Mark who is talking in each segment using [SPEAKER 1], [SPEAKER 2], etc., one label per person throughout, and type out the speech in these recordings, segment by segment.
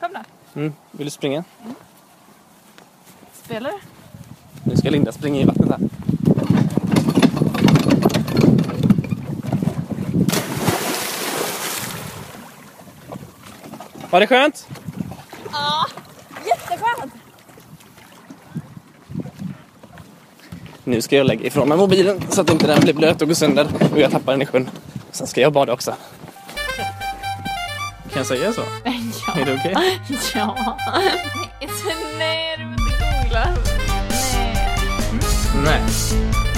[SPEAKER 1] Kom då.
[SPEAKER 2] Mm. Vill du springa?
[SPEAKER 1] Spelar du?
[SPEAKER 2] Nu ska Linda springa i vattnet här. Var det skönt?
[SPEAKER 1] Jätteskönt!
[SPEAKER 2] Nu ska jag lägga ifrån mig mobilen så att inte den blir blöt och går sönder och jag tappar den i sjön. Sen ska jag bada också. Kan jag säga så?
[SPEAKER 1] Ja.
[SPEAKER 2] Är det okej?
[SPEAKER 1] Ja. Nej, så- Nej, du behöver inte googla. Nej.
[SPEAKER 2] Nej.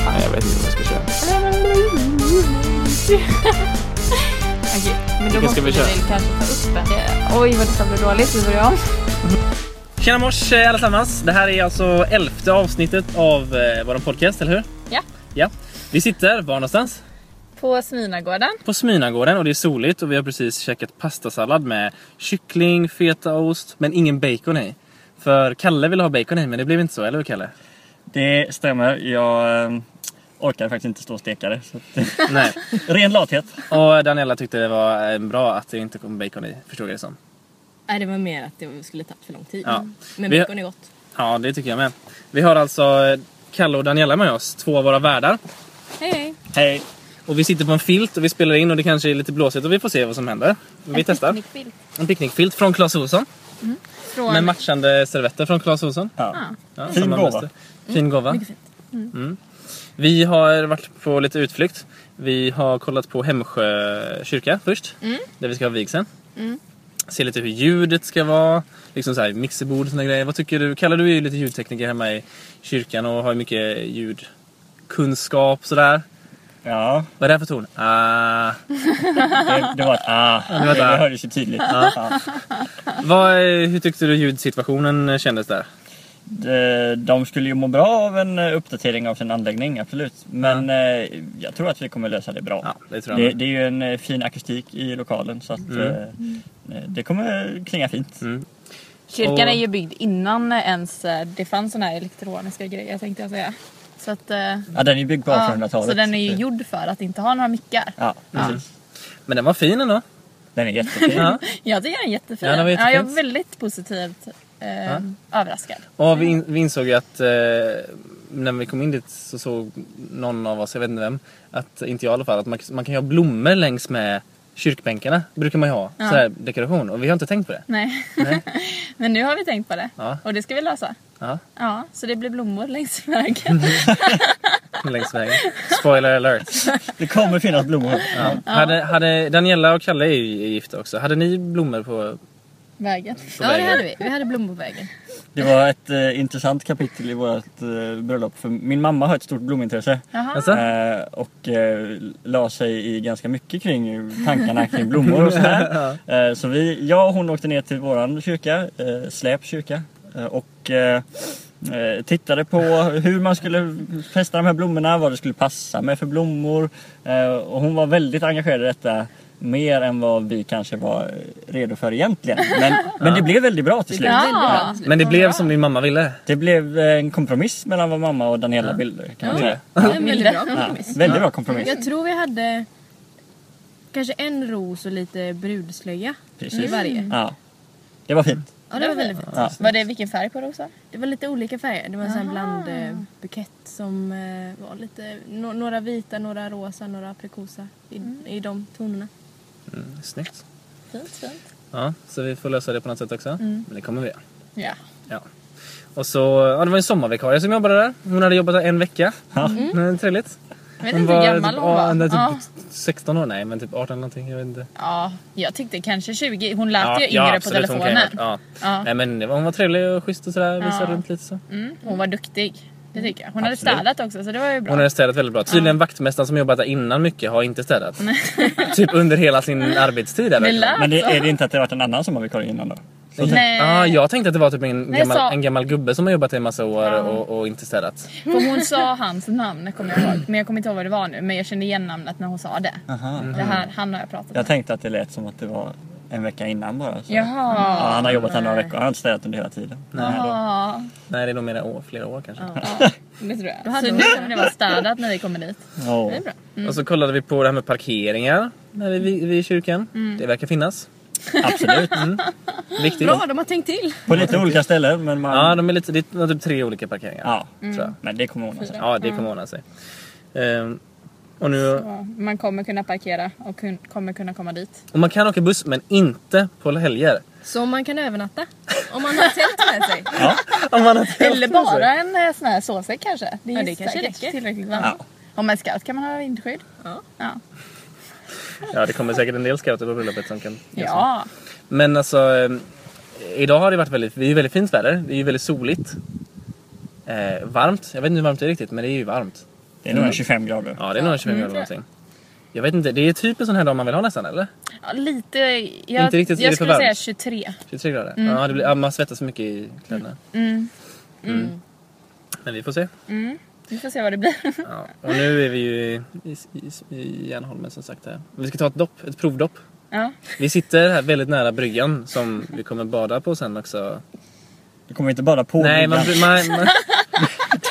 [SPEAKER 2] Nej, jag vet inte vad jag ska köra.
[SPEAKER 1] Okej, men då
[SPEAKER 2] Vilken
[SPEAKER 1] måste
[SPEAKER 2] ska
[SPEAKER 1] vi
[SPEAKER 2] vi
[SPEAKER 1] väl
[SPEAKER 2] köra?
[SPEAKER 1] kanske ta upp den. Eh, Oj, vad detta blev dåligt. Vi börjar om.
[SPEAKER 2] Tjena mors eh, allesammans! Det här är alltså elfte avsnittet av eh, vår podcast, eller hur?
[SPEAKER 1] Ja.
[SPEAKER 2] Ja. Vi sitter var någonstans?
[SPEAKER 1] På Sminagården.
[SPEAKER 2] På Smynagården och det är soligt och vi har precis käkat pastasallad med kyckling, fetaost, men ingen bacon i. För Kalle ville ha bacon i men det blev inte så, eller hur Kalle?
[SPEAKER 3] Det stämmer. Jag eh, orkar faktiskt inte stå och steka det. Så att,
[SPEAKER 2] Nej.
[SPEAKER 3] ren lathet.
[SPEAKER 2] Och Daniela tyckte det var eh, bra att det inte kom bacon i, förstod jag det som.
[SPEAKER 4] Nej, det var mer att det skulle tagit för lång tid.
[SPEAKER 2] Ja.
[SPEAKER 4] Men
[SPEAKER 2] Vi-
[SPEAKER 4] bacon är gott.
[SPEAKER 2] Ja, det tycker jag med. Vi har alltså eh, Kalle och Daniela med oss, två av våra värdar.
[SPEAKER 4] Hej, hej.
[SPEAKER 3] Hej!
[SPEAKER 2] Och vi sitter på en filt och vi spelar in och det kanske är lite blåsigt och vi får se vad som händer. Men vi testar.
[SPEAKER 1] Picknickbild.
[SPEAKER 2] En picknickfilt från Clas Ohlson.
[SPEAKER 1] Från...
[SPEAKER 2] Med matchande servetter från Clas Ohlson.
[SPEAKER 1] Ah.
[SPEAKER 3] Ja.
[SPEAKER 2] Ja,
[SPEAKER 3] Fin
[SPEAKER 2] samma
[SPEAKER 3] gåva.
[SPEAKER 2] mönster. Fin gåva.
[SPEAKER 4] Mycket fint.
[SPEAKER 2] Mm. Vi har varit på lite utflykt. Vi har kollat på Hemsjö kyrka först.
[SPEAKER 4] Mm.
[SPEAKER 2] Där vi ska ha vigseln. Se lite hur ljudet ska vara. Liksom så här, mixerbord och såna grejer. Vad tycker du? Kalle du är ju lite ljudtekniker hemma i kyrkan och har ju mycket ljudkunskap sådär.
[SPEAKER 3] ja
[SPEAKER 2] Vad är det här för ton? Ah.
[SPEAKER 3] det, det var ett ah. Det,
[SPEAKER 2] var ett ah.
[SPEAKER 3] hördes ju tydligt. Ja.
[SPEAKER 2] Vad, hur tyckte du ljudsituationen kändes där?
[SPEAKER 3] De, de skulle ju må bra av en eh, uppdatering av sin anläggning, absolut. Men eh, jag tror att vi kommer lösa det bra.
[SPEAKER 2] Ja, det tror jag med.
[SPEAKER 3] Det,
[SPEAKER 2] Mm.
[SPEAKER 3] det är ju en eh, fin akustik i lokalen så att eh, eh, det kommer klinga fint.
[SPEAKER 1] Kyrkan
[SPEAKER 2] Och-
[SPEAKER 1] är ju byggd innan ens eh, det fanns såna här elektroniska grejer tänkte jag säga. Så att... eh,
[SPEAKER 3] Ja, den är ju byggd på
[SPEAKER 1] ja,
[SPEAKER 3] 1800-talet.
[SPEAKER 1] Ah, så den är ju
[SPEAKER 3] att-
[SPEAKER 1] gjord för att inte ha några mickar.
[SPEAKER 3] Ja,
[SPEAKER 1] Ja.
[SPEAKER 3] precis.
[SPEAKER 2] Men den var fin ändå.
[SPEAKER 3] Den är jättefin.
[SPEAKER 2] Ja.
[SPEAKER 1] Jag tycker den är jättefin.
[SPEAKER 2] Ja, den var
[SPEAKER 1] jag är
[SPEAKER 2] jättefin.
[SPEAKER 1] väldigt positivt eh,
[SPEAKER 2] Ja.
[SPEAKER 1] överraskad.
[SPEAKER 2] Och vi, in, vi insåg ju att eh, när vi kom in dit så såg någon av oss, jag vet inte vem, att, inte jag i alla fall, att man, man kan ju ha blommor längs med kyrkbänkarna. brukar man ju ha.
[SPEAKER 1] Ja.
[SPEAKER 2] Sådär dekoration. Och vi har inte tänkt på det.
[SPEAKER 1] Nej.
[SPEAKER 2] Nej.
[SPEAKER 1] Men nu har vi tänkt på det.
[SPEAKER 2] Ja.
[SPEAKER 1] Och det ska vi lösa.
[SPEAKER 2] Ja,
[SPEAKER 1] Ja, så det blir blommor längs vägen.
[SPEAKER 2] Mm. längs vägen. Spoiler alert.
[SPEAKER 3] Det kommer finnas blommor.
[SPEAKER 2] Ja. Hade, hade, Daniela och Kalle är ju gifta också. Hade ni blommor på...
[SPEAKER 1] vägen.
[SPEAKER 2] på
[SPEAKER 4] Ja, det
[SPEAKER 2] vägen?
[SPEAKER 4] hade vi. Vi hade blommor på vägen.
[SPEAKER 3] Det var ett eh, intressant kapitel i vårt eh, bröllop för min mamma har ett stort blomintresse
[SPEAKER 1] Jaha.
[SPEAKER 2] Jaså?
[SPEAKER 3] eh, och eh, la sig i ganska mycket kring tankarna kring blommor och sådär. Eh, så vi, jag och hon åkte ner till våran kyrka, eh, Släp kyrka eh, och eh, eh, tittade på hur man skulle fästa de här blommorna, vad det skulle passa med för blommor eh, och hon var väldigt engagerad i detta. Mer än vad vi kanske var redo för egentligen. Men, men det blev väldigt bra till slut.
[SPEAKER 1] Ja.
[SPEAKER 2] Men det blev som din mamma ville.
[SPEAKER 3] Det blev eh, en kompromiss mellan vad mamma och Daniela ville kan man säga.
[SPEAKER 4] Ja, en väldigt bra
[SPEAKER 3] Ja,
[SPEAKER 4] kompromiss.
[SPEAKER 3] väldigt bra kompromiss.
[SPEAKER 4] Jag tror vi hade kanske en ros och lite brudslöja i
[SPEAKER 3] Precis.
[SPEAKER 4] varje.
[SPEAKER 3] Ja. Det var fint.
[SPEAKER 4] Ja, det var väldigt fint.
[SPEAKER 3] Ja.
[SPEAKER 1] Var det vilken färg på rosa?
[SPEAKER 4] Det var lite olika färger. Det var en sån här blandbukett som eh, var lite, no, några vita, några rosa, några aprikosa i, i de tonerna.
[SPEAKER 2] Mm, snyggt.
[SPEAKER 1] Fint, fint.
[SPEAKER 2] Ja, så vi får lösa det på något sätt också.
[SPEAKER 1] Mm.
[SPEAKER 2] Men det kommer vi göra.
[SPEAKER 1] Ja.
[SPEAKER 2] Ja. Och så, ja, det var en sommarvikarie som jobbade där. Hon hade jobbat där en vecka. Mm. Trevligt.
[SPEAKER 1] Jag vet inte hur gammal
[SPEAKER 2] typ,
[SPEAKER 1] hon var.
[SPEAKER 2] ja,
[SPEAKER 1] Ja.
[SPEAKER 2] typ 16 år, nej men typ 18 eller någonting. Jag vet inte.
[SPEAKER 1] ja, jag tyckte kanske 20. Hon lät ju yngre på
[SPEAKER 2] absolut, hon kan
[SPEAKER 1] telefonen.
[SPEAKER 2] ju ha varit- ja.
[SPEAKER 1] Ja.
[SPEAKER 2] Nej, men det var, hon var trevlig och schysst och sådär. Visade
[SPEAKER 1] Ja.
[SPEAKER 2] runt lite så.
[SPEAKER 1] Mm, hon var duktig. Det tycker jag. Hon
[SPEAKER 3] Absolut.
[SPEAKER 1] hade städat också så det var ju bra.
[SPEAKER 2] Hon hade städat väldigt bra. Tydligen vaktmästaren som jobbat där innan mycket har inte städat. typ under hela sin arbetstid. Där,
[SPEAKER 1] Det
[SPEAKER 2] verkligen.
[SPEAKER 1] lät
[SPEAKER 3] Men det,
[SPEAKER 1] så.
[SPEAKER 3] är det inte att det varit en annan sommarvikarie innan då? Så tänkte-
[SPEAKER 1] Nej.
[SPEAKER 2] Ja, jag tänkte att det var typ en,
[SPEAKER 1] Nej,
[SPEAKER 2] gammal,
[SPEAKER 1] så-
[SPEAKER 2] en gammal gubbe som har jobbat där i massa år
[SPEAKER 1] Ja.
[SPEAKER 2] och, och inte städat.
[SPEAKER 1] För hon sa hans namn kommer jag ihåg. Men jag kommer inte ihåg vad det var nu. Men jag kände igen namnet när hon sa det.
[SPEAKER 3] Aha.
[SPEAKER 2] Mm.
[SPEAKER 1] det här, han har jag pratat med.
[SPEAKER 3] Jag tänkte att det lät som att det var en vecka innan bara. Så.
[SPEAKER 1] Jaha.
[SPEAKER 3] Ja, han har jobbat här några veckor, han har inte städat under hela tiden. Nej, då.
[SPEAKER 1] Jaha.
[SPEAKER 2] Nej, det är nog mera år, flera år kanske.
[SPEAKER 1] Ja, det tror jag. Så nu kommer det vara städat när vi kommer dit.
[SPEAKER 3] Ja.
[SPEAKER 1] Det är bra. Mm.
[SPEAKER 2] Och så kollade vi på det här med parkeringar när vi, vid, vid kyrkan. Det verkar finnas.
[SPEAKER 3] Absolut.
[SPEAKER 2] Viktigt.
[SPEAKER 4] Bra, de har tänkt till.
[SPEAKER 3] På lite olika ställen men man...
[SPEAKER 2] Ja, de är lite, det är typ tre olika parkeringar.
[SPEAKER 3] ja.
[SPEAKER 2] Tror
[SPEAKER 1] Mm.
[SPEAKER 2] jag.
[SPEAKER 3] Men det kommer ordna sig.
[SPEAKER 2] Ja, det kommer ordna sig. Ehm, och, nu,
[SPEAKER 1] Ja, Man kommer kunna parkera och kun, kommer kunna komma dit.
[SPEAKER 2] och man kan åka buss men inte på helger.
[SPEAKER 4] Så man kan övernatta. Om man har tält med sig.
[SPEAKER 3] Ja.
[SPEAKER 2] Om man har
[SPEAKER 1] Eller bara en eh, sån här sovsäck kanske. Det är
[SPEAKER 4] Ja,
[SPEAKER 1] ju
[SPEAKER 4] det kanske
[SPEAKER 1] säkert
[SPEAKER 4] räcker.
[SPEAKER 1] tillräckligt varmt. Om man är scout kan man ha vindskydd.
[SPEAKER 4] Ja.
[SPEAKER 1] Ja.
[SPEAKER 2] Ja, det kommer säkert en del scouter på bröllopet som kan
[SPEAKER 1] ja.
[SPEAKER 2] Men alltså, eh, idag har det varit väldigt, det är ju väldigt fint väder. Det är ju väldigt soligt. Eh, varmt. Jag vet inte hur varmt det är riktigt, men det är ju varmt.
[SPEAKER 3] Det är nog en 25 grader.
[SPEAKER 2] Ja, det är nog 25 grader
[SPEAKER 1] Mm.
[SPEAKER 2] någonting. Jag vet inte, det är typ en sån här dag man vill ha nästan, eller?
[SPEAKER 1] Ja, lite. Jag,
[SPEAKER 2] Inte riktigt, är
[SPEAKER 1] jag
[SPEAKER 2] det för
[SPEAKER 1] skulle säga
[SPEAKER 2] varmt?
[SPEAKER 1] 23.
[SPEAKER 2] 23 grader? Ja, det blir, ja, man svettas så mycket i kläderna. Mm. Men vi får se.
[SPEAKER 1] Vi får se vad det blir.
[SPEAKER 2] Ja. Och nu är vi ju i, i, i, i Järnholmen som sagt. Här. Vi ska ta ett dopp, ett provdopp.
[SPEAKER 1] Ja.
[SPEAKER 2] Vi sitter här väldigt nära bryggan som vi kommer bada på sen också.
[SPEAKER 3] Du kommer inte bara på
[SPEAKER 2] Nej, man,
[SPEAKER 3] bryggan.
[SPEAKER 2] man, man,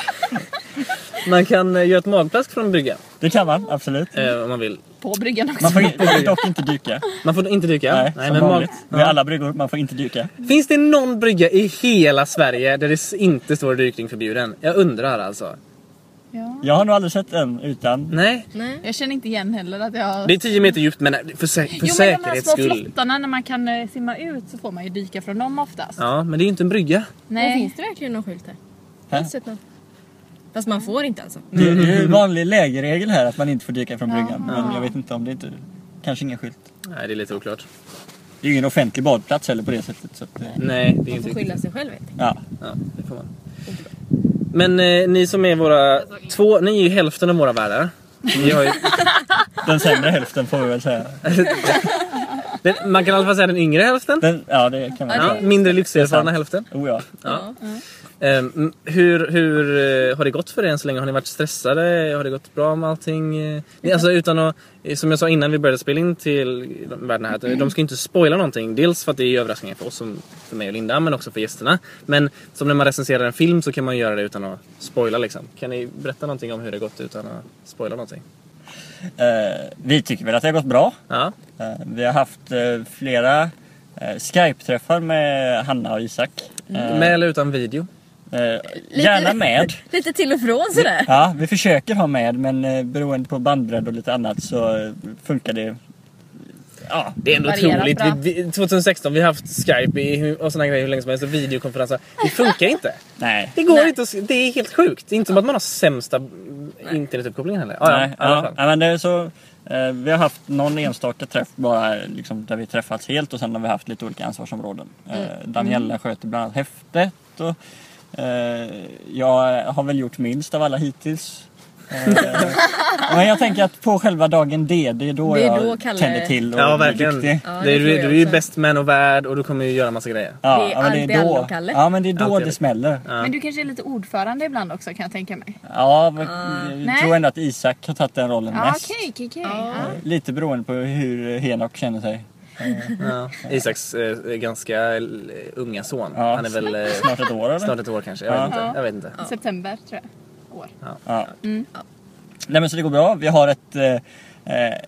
[SPEAKER 2] man kan eh, göra ett magplask från bryggan
[SPEAKER 3] Det kan man absolut.
[SPEAKER 2] eh, om man vill.
[SPEAKER 1] På bryggan också.
[SPEAKER 3] Man får in- dock inte dyka.
[SPEAKER 2] Man får inte dyka.
[SPEAKER 3] Nej, som
[SPEAKER 2] mag-
[SPEAKER 3] vanligt. Med
[SPEAKER 2] Ja.
[SPEAKER 3] alla bryggor, man får inte dyka.
[SPEAKER 2] Finns det någon brygga i hela Sverige där det s- inte står dykning förbjuden? Jag undrar alltså.
[SPEAKER 1] Ja.
[SPEAKER 3] Jag har nog aldrig sett en utan.
[SPEAKER 2] Nej.
[SPEAKER 4] Nej.
[SPEAKER 1] Jag känner inte igen heller att jag har...
[SPEAKER 2] Det är 10 meter djupt men för,
[SPEAKER 1] jo
[SPEAKER 2] sä- för
[SPEAKER 1] men de här
[SPEAKER 2] säkerhets
[SPEAKER 1] små
[SPEAKER 2] skull.
[SPEAKER 1] flottarna när man kan eh, simma ut så får man ju dyka från dem oftast.
[SPEAKER 2] Ja, men det är ju inte en brygga.
[SPEAKER 4] Men
[SPEAKER 1] Nej.
[SPEAKER 4] finns det verkligen någon skylt här? Jag
[SPEAKER 3] Här.
[SPEAKER 4] har inte sett någon. Fast man får inte alltså.
[SPEAKER 3] Det är ju en vanlig lägerregel här att man inte får dyka från bryggan. Men jag vet inte om det inte... Kanske ingen skylt.
[SPEAKER 2] Nej, det är lite oklart.
[SPEAKER 3] Det är ju ingen offentlig badplats heller på det sättet. Så att, eh,
[SPEAKER 2] Nej, det är
[SPEAKER 4] Man
[SPEAKER 1] Alltså,
[SPEAKER 2] inte
[SPEAKER 4] får
[SPEAKER 2] riktigt.
[SPEAKER 4] skylla sig själv helt enkelt.
[SPEAKER 3] ja.
[SPEAKER 2] Ja, det får man. Men eh, ni som är våra två, ni är ju hälften av våra värdar. Ni har ju,
[SPEAKER 3] Den sämre hälften får vi väl säga.
[SPEAKER 2] den, man kan i alla fall säga den yngre hälften.
[SPEAKER 3] Den, ja det kan man
[SPEAKER 2] Ja,
[SPEAKER 3] säga.
[SPEAKER 2] mindre lyxerfarna hälften.
[SPEAKER 3] Oh, ja.
[SPEAKER 2] Ja. Ehm, hur hur eh, har det gått för er än så länge? Har ni varit stressade? Har det gått bra med allting? Eh, ni- Alltså utan att, eh, som jag sa innan vi började spela in till världen här, att eh, de ska inte spoila någonting. Dels för att det är överraskningar för oss, som, för mig och Linda, men också för gästerna. Men som när man recenserar en film så kan man göra det utan att spoila liksom. Kan ni berätta någonting om hur det gått utan att spoila någonting?
[SPEAKER 3] Eh, vi tycker väl att det har gått bra.
[SPEAKER 2] Ja,
[SPEAKER 3] Eh, Vi har haft eh, flera eh, Skype-träffar med Hanna och Isak. Eh,
[SPEAKER 2] med eller utan video?
[SPEAKER 3] eh, Gärna med.
[SPEAKER 4] Lite till och från sådär.
[SPEAKER 3] Ja, vi försöker ha med men eh, beroende på bandbredd och lite annat så eh, funkar det. Ja,
[SPEAKER 2] Det är ändå
[SPEAKER 1] Varierat
[SPEAKER 2] otroligt.
[SPEAKER 1] bra.
[SPEAKER 2] Vi, vi, 2016, vi har haft Skype i, hur- och såna grejer hur länge som helst och videokonferenser. Det funkar inte.
[SPEAKER 3] nej.
[SPEAKER 2] Det går inte att se. Det är helt sjukt. Det är inte som att man har sämsta internetuppkopplingen heller. Ja,
[SPEAKER 3] nej
[SPEAKER 2] ja, i alla fall.
[SPEAKER 3] ja, men det är så, eh, vi har haft någon enstaka träff bara liksom, där vi träffats helt och sen har vi haft lite olika ansvarsområden.
[SPEAKER 4] Mm.
[SPEAKER 3] Eh, Daniela sköter bland annat häftet och eh, jag har väl gjort minst av alla hittills. Eh, men jag tänker att på själva dagen D, det är då
[SPEAKER 4] Det är
[SPEAKER 3] jag
[SPEAKER 4] då Kalle-
[SPEAKER 3] tänder till och
[SPEAKER 2] ja,
[SPEAKER 3] blir
[SPEAKER 2] verkligen.
[SPEAKER 3] duktig.
[SPEAKER 4] Ja,
[SPEAKER 2] det
[SPEAKER 4] det
[SPEAKER 2] är,
[SPEAKER 4] tror
[SPEAKER 2] du,
[SPEAKER 4] jag
[SPEAKER 2] du är ju
[SPEAKER 4] också.
[SPEAKER 2] bäst man och värd och du kommer ju göra massa grejer.
[SPEAKER 3] Ja,
[SPEAKER 4] Det är
[SPEAKER 3] ja, men det
[SPEAKER 4] alltid
[SPEAKER 3] är
[SPEAKER 4] alla
[SPEAKER 3] då,
[SPEAKER 4] och Kalle.
[SPEAKER 3] ja, men det, är då
[SPEAKER 2] Alltid.
[SPEAKER 3] det smäller.
[SPEAKER 1] Men du kanske är lite ordförande ibland också kan jag tänka mig.
[SPEAKER 3] Ja, men jag
[SPEAKER 1] Nej.
[SPEAKER 3] tror ändå att Isak har tagit den rollen
[SPEAKER 1] Ja,
[SPEAKER 3] mest.
[SPEAKER 1] Okej, okej, okej.
[SPEAKER 4] Ja.
[SPEAKER 1] Ja.
[SPEAKER 3] Lite beroende på hur Henok känner sig.
[SPEAKER 2] Ja. Isaks eh, ganska eh, unga son.
[SPEAKER 3] Ja.
[SPEAKER 2] Han är väl eh,
[SPEAKER 3] Snart ett år eller?
[SPEAKER 2] snart ett år kanske. Jag vet
[SPEAKER 3] Ja.
[SPEAKER 2] inte. Jag vet inte.
[SPEAKER 1] September tror jag. År.
[SPEAKER 3] Ja.
[SPEAKER 1] Mm.
[SPEAKER 3] Nej men så det går bra. Vi har ett, eh, eh,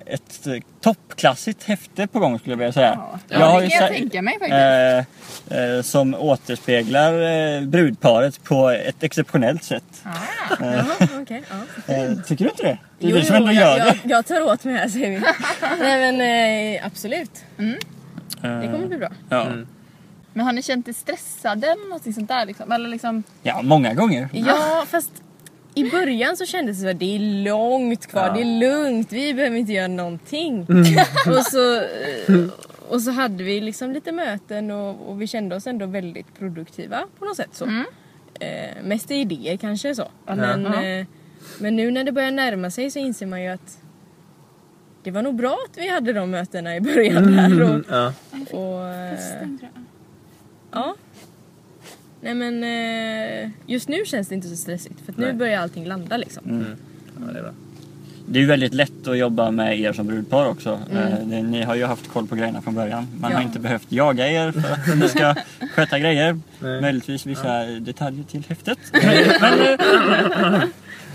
[SPEAKER 3] ett eh, toppklassigt häfte på gång skulle jag vilja säga.
[SPEAKER 1] Ja,
[SPEAKER 3] Jag
[SPEAKER 1] det
[SPEAKER 3] har
[SPEAKER 1] kan
[SPEAKER 3] ju
[SPEAKER 1] jag
[SPEAKER 3] sa-
[SPEAKER 1] tänka mig faktiskt.
[SPEAKER 3] eh, eh, som återspeglar eh, brudparet på ett exceptionellt sätt.
[SPEAKER 4] Jaha, okej, ja.
[SPEAKER 3] Eh, tycker du inte det? Det är
[SPEAKER 4] Jo,
[SPEAKER 3] du som
[SPEAKER 4] jo,
[SPEAKER 3] ändå gör
[SPEAKER 4] jag,
[SPEAKER 3] det.
[SPEAKER 4] jag, jag tar åt mig här säger vi. Nej men eh, absolut. Det kommer bli bra.
[SPEAKER 3] Ja.
[SPEAKER 1] Men har ni känt er stressade eller någonting sånt där? Liksom? Eller liksom,
[SPEAKER 3] ja, många gånger.
[SPEAKER 4] Ja, fast i början så kändes det som att det är långt kvar, det är lugnt, vi behöver inte göra någonting. och, så, eh, och så hade vi liksom lite möten och, och vi kände oss ändå väldigt produktiva på något sätt. Så. Eh, mest i idéer kanske så. Men,
[SPEAKER 1] Ja.
[SPEAKER 4] eh, men nu när det börjar närma sig så inser man ju att det var nog bra att vi hade de mötena i början där. Och,
[SPEAKER 2] Mm, Ja.
[SPEAKER 4] och, eh, ja. Nej men eh, just nu känns det inte så stressigt för att nu
[SPEAKER 2] Nej. Mm.
[SPEAKER 4] börjar allting landa liksom.
[SPEAKER 2] ja, det är bra.
[SPEAKER 3] Det är ju väldigt lätt att jobba med er som brudpar också. Eh, det- Ni har ju haft koll på grejerna från början. Man har
[SPEAKER 4] Ja.
[SPEAKER 3] inte behövt jaga er för att ni ska sköta grejer.
[SPEAKER 2] Nej.
[SPEAKER 3] Möjligtvis vissa detaljer till häftet.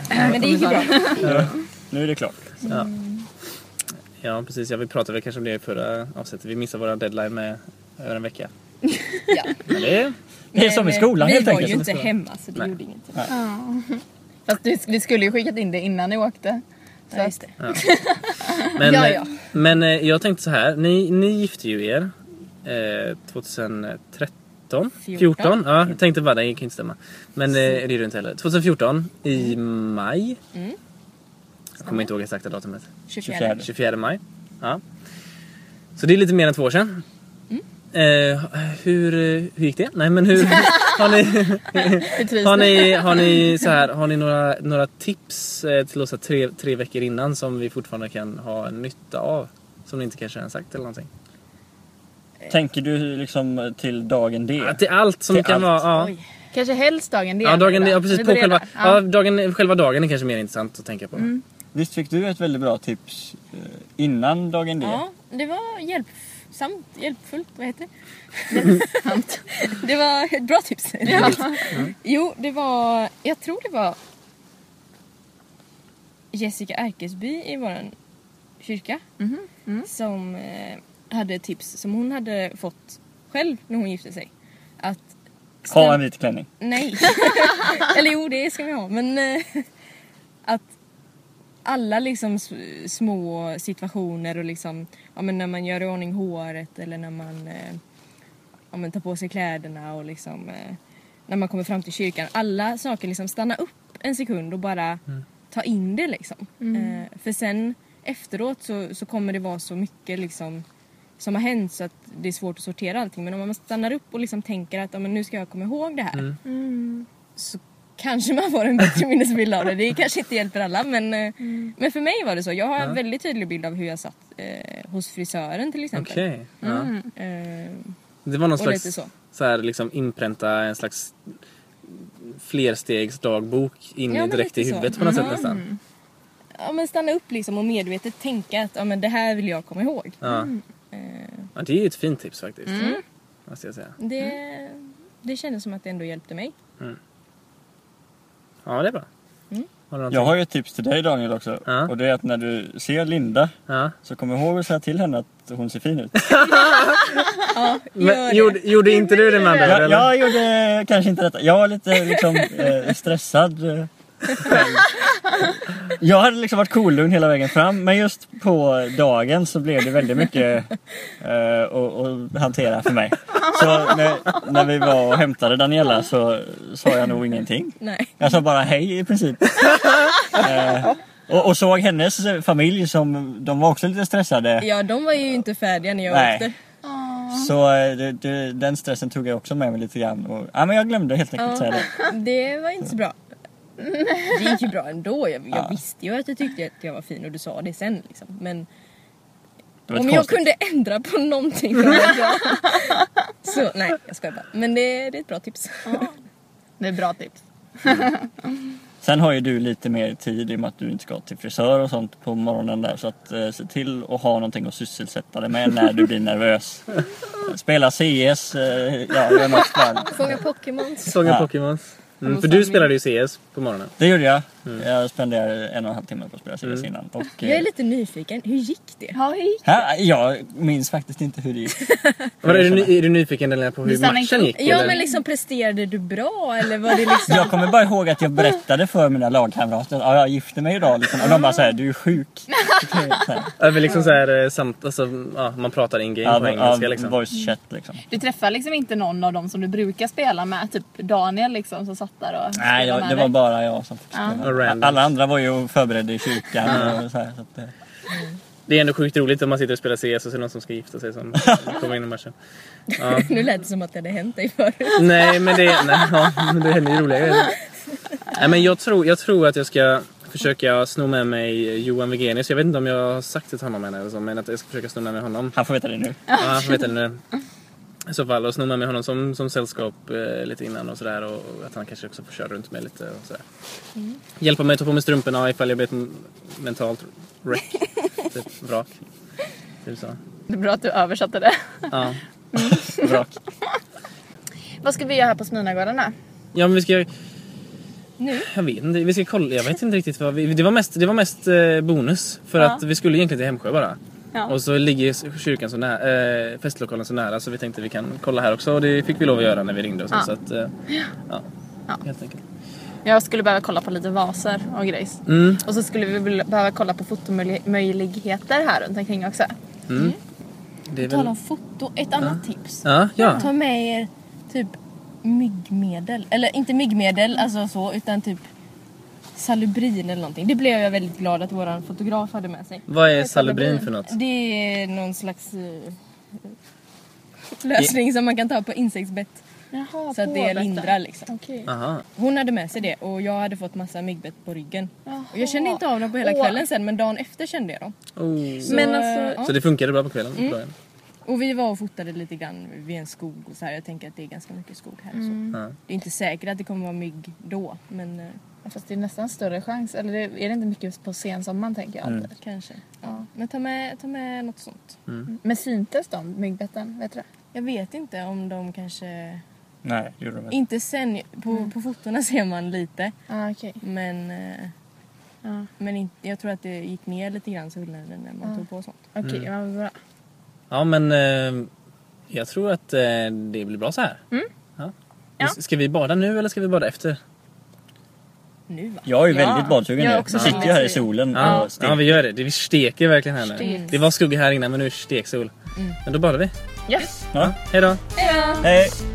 [SPEAKER 4] Men det gick ju bra. Mm.
[SPEAKER 3] Nu är det klart.
[SPEAKER 2] Ja. Ja, precis. Ja, vi pratade väl kanske om det i förra avsnittet. Vi missade våra deadline med över en vecka.
[SPEAKER 4] Ja.
[SPEAKER 2] Men det,
[SPEAKER 3] Det är som i
[SPEAKER 4] Men,
[SPEAKER 3] skolan
[SPEAKER 4] Vi
[SPEAKER 3] helt
[SPEAKER 4] var ju
[SPEAKER 3] enkelt.
[SPEAKER 4] inte hemma så det
[SPEAKER 2] Nej.
[SPEAKER 4] gjorde ingenting.
[SPEAKER 1] Fast vi, vi skulle ju skickat in det innan ni åkte. Så
[SPEAKER 4] Ja,
[SPEAKER 1] att,
[SPEAKER 4] just det.
[SPEAKER 2] men,
[SPEAKER 1] Ja, ja.
[SPEAKER 2] eh, men eh, jag tänkte så här. Ni, ni gifte ju er eh, 2013? 14? Ja,
[SPEAKER 1] Mm.
[SPEAKER 2] jag tänkte bara det kan inte stämma. Men eh, det är det ju inte heller. 2014 i
[SPEAKER 1] Mm.
[SPEAKER 2] maj. Jag kommer inte ihåg exakta datumet.
[SPEAKER 4] 24.
[SPEAKER 2] 24 maj. Ja. Så det är lite mer än två år sedan.
[SPEAKER 1] Mm.
[SPEAKER 2] Eh, hur, hur gick det? Nej men hur har ni,
[SPEAKER 1] hur trivs
[SPEAKER 2] har
[SPEAKER 1] ni?
[SPEAKER 2] ni, har ni, så här, har ni några, några tips eh, till oss här tre, tre veckor innan som vi fortfarande kan ha nytta av? Som ni inte kanske har sagt eller någonting.
[SPEAKER 3] Tänker du liksom till dagen D?
[SPEAKER 2] Ja, till allt som
[SPEAKER 3] Till
[SPEAKER 2] kan
[SPEAKER 3] allt.
[SPEAKER 2] vara... Ja.
[SPEAKER 4] Oj.
[SPEAKER 1] Kanske helst dagen det.
[SPEAKER 2] Ja, dagen, ja,
[SPEAKER 1] Vi
[SPEAKER 2] precis, på
[SPEAKER 1] börjar
[SPEAKER 2] själva,
[SPEAKER 1] där.
[SPEAKER 2] ja. dagen, själva dagen är kanske mer intressant att tänka på.
[SPEAKER 4] Mm,
[SPEAKER 3] Visst fick du ett väldigt bra tips eh, innan dagen D?
[SPEAKER 4] Ja, det var hjälpsamt, hjälpfullt, vad heter det? det var ett bra tips. Jo, det var, jag tror det var Jessica Erkesby i vår kyrka som eh, hade ett tips som hon hade fått själv när hon gifte sig. Att
[SPEAKER 3] Ha en vit klänning.
[SPEAKER 4] Nej. Eller jo, det ska vi ha. Men eh, att alla liksom s- små situationer och liksom ja, men när man gör i ordning håret eller när man, eh, ja, men tar på sig kläderna och liksom eh, när man kommer fram till kyrkan. Alla saker liksom stanna upp en sekund och bara ta in det liksom. Eh, för sen efteråt så, så kommer det vara så mycket liksom som har hänt så att det är svårt att sortera allting. Men om man stannar upp och liksom tänker att ja, men nu ska jag komma ihåg det här. Så kanske man får en bättre minnesbild av det. Det kanske inte hjälper alla men, eh, men för mig var det så. Jag har en väldigt tydlig bild av hur jag satt eh, hos frisören till exempel.
[SPEAKER 2] Okej. Ja.
[SPEAKER 4] Eh,
[SPEAKER 2] Det var någon
[SPEAKER 4] Och
[SPEAKER 2] slags
[SPEAKER 4] lite så.
[SPEAKER 2] så. här, liksom inpränta en slags flerstegsdagbok in
[SPEAKER 4] Ja, men
[SPEAKER 2] direkt i
[SPEAKER 4] lite så. Mm.
[SPEAKER 2] huvudet på något sätt nästan.
[SPEAKER 4] ja, men stanna upp liksom och medvetet tänka att ja, men det här vill jag komma ihåg.
[SPEAKER 2] Ja.
[SPEAKER 4] Eh,
[SPEAKER 2] Ja, det är ju ett fint tips faktiskt.
[SPEAKER 4] Mm.
[SPEAKER 2] Måste jag säga.
[SPEAKER 4] det, det kändes som att det ändå hjälpte mig.
[SPEAKER 2] Ja, det är bra.
[SPEAKER 4] Mm.
[SPEAKER 2] Har du någonting?
[SPEAKER 3] Jag har ju ett tips till dig Daniel också.
[SPEAKER 2] Ja.
[SPEAKER 3] Och det är att när du ser Linda
[SPEAKER 2] Ja.
[SPEAKER 3] så kom ihåg att säga till henne att hon ser fin ut.
[SPEAKER 2] Men, gjorde, gjorde inte du det med andra ord,
[SPEAKER 3] Jag,
[SPEAKER 2] eller?
[SPEAKER 3] jag gjorde kanske inte detta. Jag var lite liksom, eh, stressad. eh, själv. jag hade liksom varit kolugn hela vägen fram men just på dagen så blev det väldigt mycket eh, att, att hantera för mig. Så när, när vi var och hämtade Daniela så sa jag nog ingenting.
[SPEAKER 4] Nej.
[SPEAKER 3] Jag sa bara hej i princip. eh, och, och såg hennes familj som, de var också lite stressade.
[SPEAKER 4] Ja, de var ju inte färdiga när jag
[SPEAKER 3] Nej.
[SPEAKER 4] åkte.
[SPEAKER 3] Så eh, det, det, den stressen tog jag också med mig lite grann. Och, ja, men jag glömde helt enkelt säga det.
[SPEAKER 4] Det var inte så bra. Det gick ju bra ändå. Jag, jag visste ju att du tyckte att jag var fin och du sa det sen. Liksom. Men
[SPEAKER 3] det var
[SPEAKER 4] om
[SPEAKER 3] ett
[SPEAKER 4] jag
[SPEAKER 3] konstigt-
[SPEAKER 4] kunde ändra på någonting från den dagen. Så nej, jag skojar bara. Men det, det är ett bra tips.
[SPEAKER 1] Det är bra tips.
[SPEAKER 3] Sen har ju du lite mer tid i och med att du inte ska till frisör och sånt på morgonen där. Så att eh, se till att ha någonting att sysselsätta dig med när du blir nervös. Spela CS, eh, ja gör något fall.
[SPEAKER 4] Fånga Pokémons.
[SPEAKER 2] Sånga
[SPEAKER 3] Ja.
[SPEAKER 2] Pokémons. Mm, för du spelade ju CS på morgonen.
[SPEAKER 3] Det gjorde jag. Jag spenderade en och en halv timme på att spela CS innan. Och,
[SPEAKER 4] Mm. Jag är
[SPEAKER 3] eh,
[SPEAKER 4] lite nyfiken. Hur gick det?
[SPEAKER 1] Ja, hej.
[SPEAKER 3] här, jag minns faktiskt inte hur det gick.
[SPEAKER 2] Var, är, du, ny- är du nyfiken Elina, på hur
[SPEAKER 1] stannar
[SPEAKER 2] matchen
[SPEAKER 1] inte-
[SPEAKER 2] gick?
[SPEAKER 4] Ja
[SPEAKER 2] eller?
[SPEAKER 4] men liksom presterade du bra eller var det liksom...
[SPEAKER 3] Jag kommer bara ihåg att jag berättade för mina lagkamrater att ja, jag gifte mig idag liksom. och de bara såhär, du är sjuk. Så här.
[SPEAKER 2] Över liksom så här, eh, samt, alltså, ja, man pratar in game
[SPEAKER 3] Ja,
[SPEAKER 2] på
[SPEAKER 3] vo-
[SPEAKER 2] engelska
[SPEAKER 3] ja,
[SPEAKER 2] liksom.
[SPEAKER 3] Voice chat liksom.
[SPEAKER 1] Du träffar liksom inte någon av dem som du brukar spela med, typ Daniel liksom som satt där och spelade
[SPEAKER 3] Nej, jag,
[SPEAKER 1] med
[SPEAKER 3] det var
[SPEAKER 1] dig.
[SPEAKER 3] bara jag som fick
[SPEAKER 1] Ja.
[SPEAKER 2] Och
[SPEAKER 3] spela.
[SPEAKER 2] random.
[SPEAKER 3] Alla andra var ju förberedda i kyrkan. Och så här, så att, eh,
[SPEAKER 2] Det är ändå sjukt roligt om man sitter och spelar CS och så är det någon som ska gifta sig som kommer in i matchen.
[SPEAKER 4] Nu lät det som att det hade hänt dig förut.
[SPEAKER 2] Nej men det, nej, ja, men det händer ju roliga grejer. Nej, men jag, tror, jag tror att jag ska försöka sno med mig Johan Wegenius. Jag vet inte om jag har sagt det till honom än eller så, men att jag ska försöka sno med mig honom.
[SPEAKER 3] han får veta det nu.
[SPEAKER 2] Ja, jag vet inte. I så fall, och sno med mig honom som, som sällskap eh, lite innan och sådär. Och, och att han kanske också får köra runt mig lite och sådär. Hjälpa mig att ta på mig strumporna ifall jag blir ett m- mentalt wreck. typ vrak. Typ så.
[SPEAKER 1] Det är bra att du översatte det.
[SPEAKER 2] Ja.
[SPEAKER 3] Bra.
[SPEAKER 1] Vad ska vi göra här på Sminagården då?
[SPEAKER 2] Ja men vi ska
[SPEAKER 4] Nu?
[SPEAKER 2] Jag vet inte, vi ska kolla. Jag vet inte riktigt vad vi... Det var mest, det var mest eh, bonus. För
[SPEAKER 1] Ja.
[SPEAKER 2] att vi skulle egentligen till Hemsjö bara.
[SPEAKER 1] Ja.
[SPEAKER 2] Och så ligger kyrkan så nära, eh, festlokalen så nära så vi tänkte vi kan kolla här också. Och det fick vi lov att göra när vi ringde och så.
[SPEAKER 1] Ja.
[SPEAKER 2] så att, eh, ja.
[SPEAKER 1] Ja.
[SPEAKER 2] Helt enkelt.
[SPEAKER 1] Jag skulle behöva kolla på lite vaser och grejs.
[SPEAKER 2] Mm.
[SPEAKER 1] Och så skulle vi väl behöva kolla på fotomöjligheter här runt omkring också.
[SPEAKER 2] Mm. Det är
[SPEAKER 4] På tal
[SPEAKER 2] väl...
[SPEAKER 4] om foto, ett annat tips.
[SPEAKER 2] Ja, ja.
[SPEAKER 4] Ta med er typ myggmedel. Eller inte myggmedel, alltså så, utan typ salubrin eller någonting. Det blev jag väldigt glad att våran fotograf hade med sig.
[SPEAKER 2] Vad är salubrin för något?
[SPEAKER 4] Det är någon slags eh, lösning som man kan ta på insektsbett.
[SPEAKER 1] Jaha,
[SPEAKER 4] Så att det lindrar liksom.
[SPEAKER 1] Okej.
[SPEAKER 2] Aha.
[SPEAKER 4] Hon hade med sig det och jag hade fått massa myggbett på ryggen.
[SPEAKER 1] Jaha.
[SPEAKER 4] Och jag kände inte av dem på hela
[SPEAKER 1] Åh.
[SPEAKER 4] kvällen sen men dagen efter kände jag dem.
[SPEAKER 2] Oh.
[SPEAKER 4] Så,
[SPEAKER 1] Men Mm.
[SPEAKER 4] eh,
[SPEAKER 1] alltså-
[SPEAKER 2] Så det funkade bra på kvällen? på dagen?
[SPEAKER 4] Och vi var och fotade lite grann vid en skog och så här. Jag tänker att det är ganska mycket skog här. och Så.
[SPEAKER 1] Mm.
[SPEAKER 2] Ja.
[SPEAKER 4] Det är inte säkert att det kommer vara mygg då, men eh,
[SPEAKER 1] Fast det är nästan större chans. Eller det, är det inte mycket på sensommaren tänker jag?
[SPEAKER 3] Mm.
[SPEAKER 4] kanske. Ja. Men ta med, ta med något sånt.
[SPEAKER 1] Men syntes de, myggbetten? Vet du det?
[SPEAKER 4] Jag vet inte om de kanske...
[SPEAKER 3] Nej, det gjorde de inte.
[SPEAKER 4] Inte sen, på,
[SPEAKER 1] Mm.
[SPEAKER 4] på fotorna ser man lite.
[SPEAKER 1] Ah, okej.
[SPEAKER 4] Men, eh,
[SPEAKER 1] Ja.
[SPEAKER 4] men inte, jag tror att det gick ner lite grann så hullnaden när man
[SPEAKER 1] Ja.
[SPEAKER 4] tog på sånt.
[SPEAKER 1] Okej, vad bra.
[SPEAKER 2] Ja men eh, jag tror att eh, det blir bra så här. Ja.
[SPEAKER 1] Mm. Ja.
[SPEAKER 2] S- Ska vi bada nu eller ska vi bada efter?
[SPEAKER 4] Nu va?
[SPEAKER 3] Jag är
[SPEAKER 1] Ja.
[SPEAKER 3] väldigt badsugen
[SPEAKER 1] Jag är
[SPEAKER 3] nu.
[SPEAKER 1] också
[SPEAKER 3] Jag sitter ju här i
[SPEAKER 1] väldigt
[SPEAKER 3] solen
[SPEAKER 2] Ja,
[SPEAKER 3] och
[SPEAKER 2] ja
[SPEAKER 3] stirrar.
[SPEAKER 2] vi gör det. Det- Vi steker Mm. verkligen här nu.
[SPEAKER 1] Steks.
[SPEAKER 2] Det var skugga här innan men nu är det steksol. Men då badar vi.
[SPEAKER 1] Yes!
[SPEAKER 3] Ja.
[SPEAKER 2] Hej då!
[SPEAKER 3] Hej!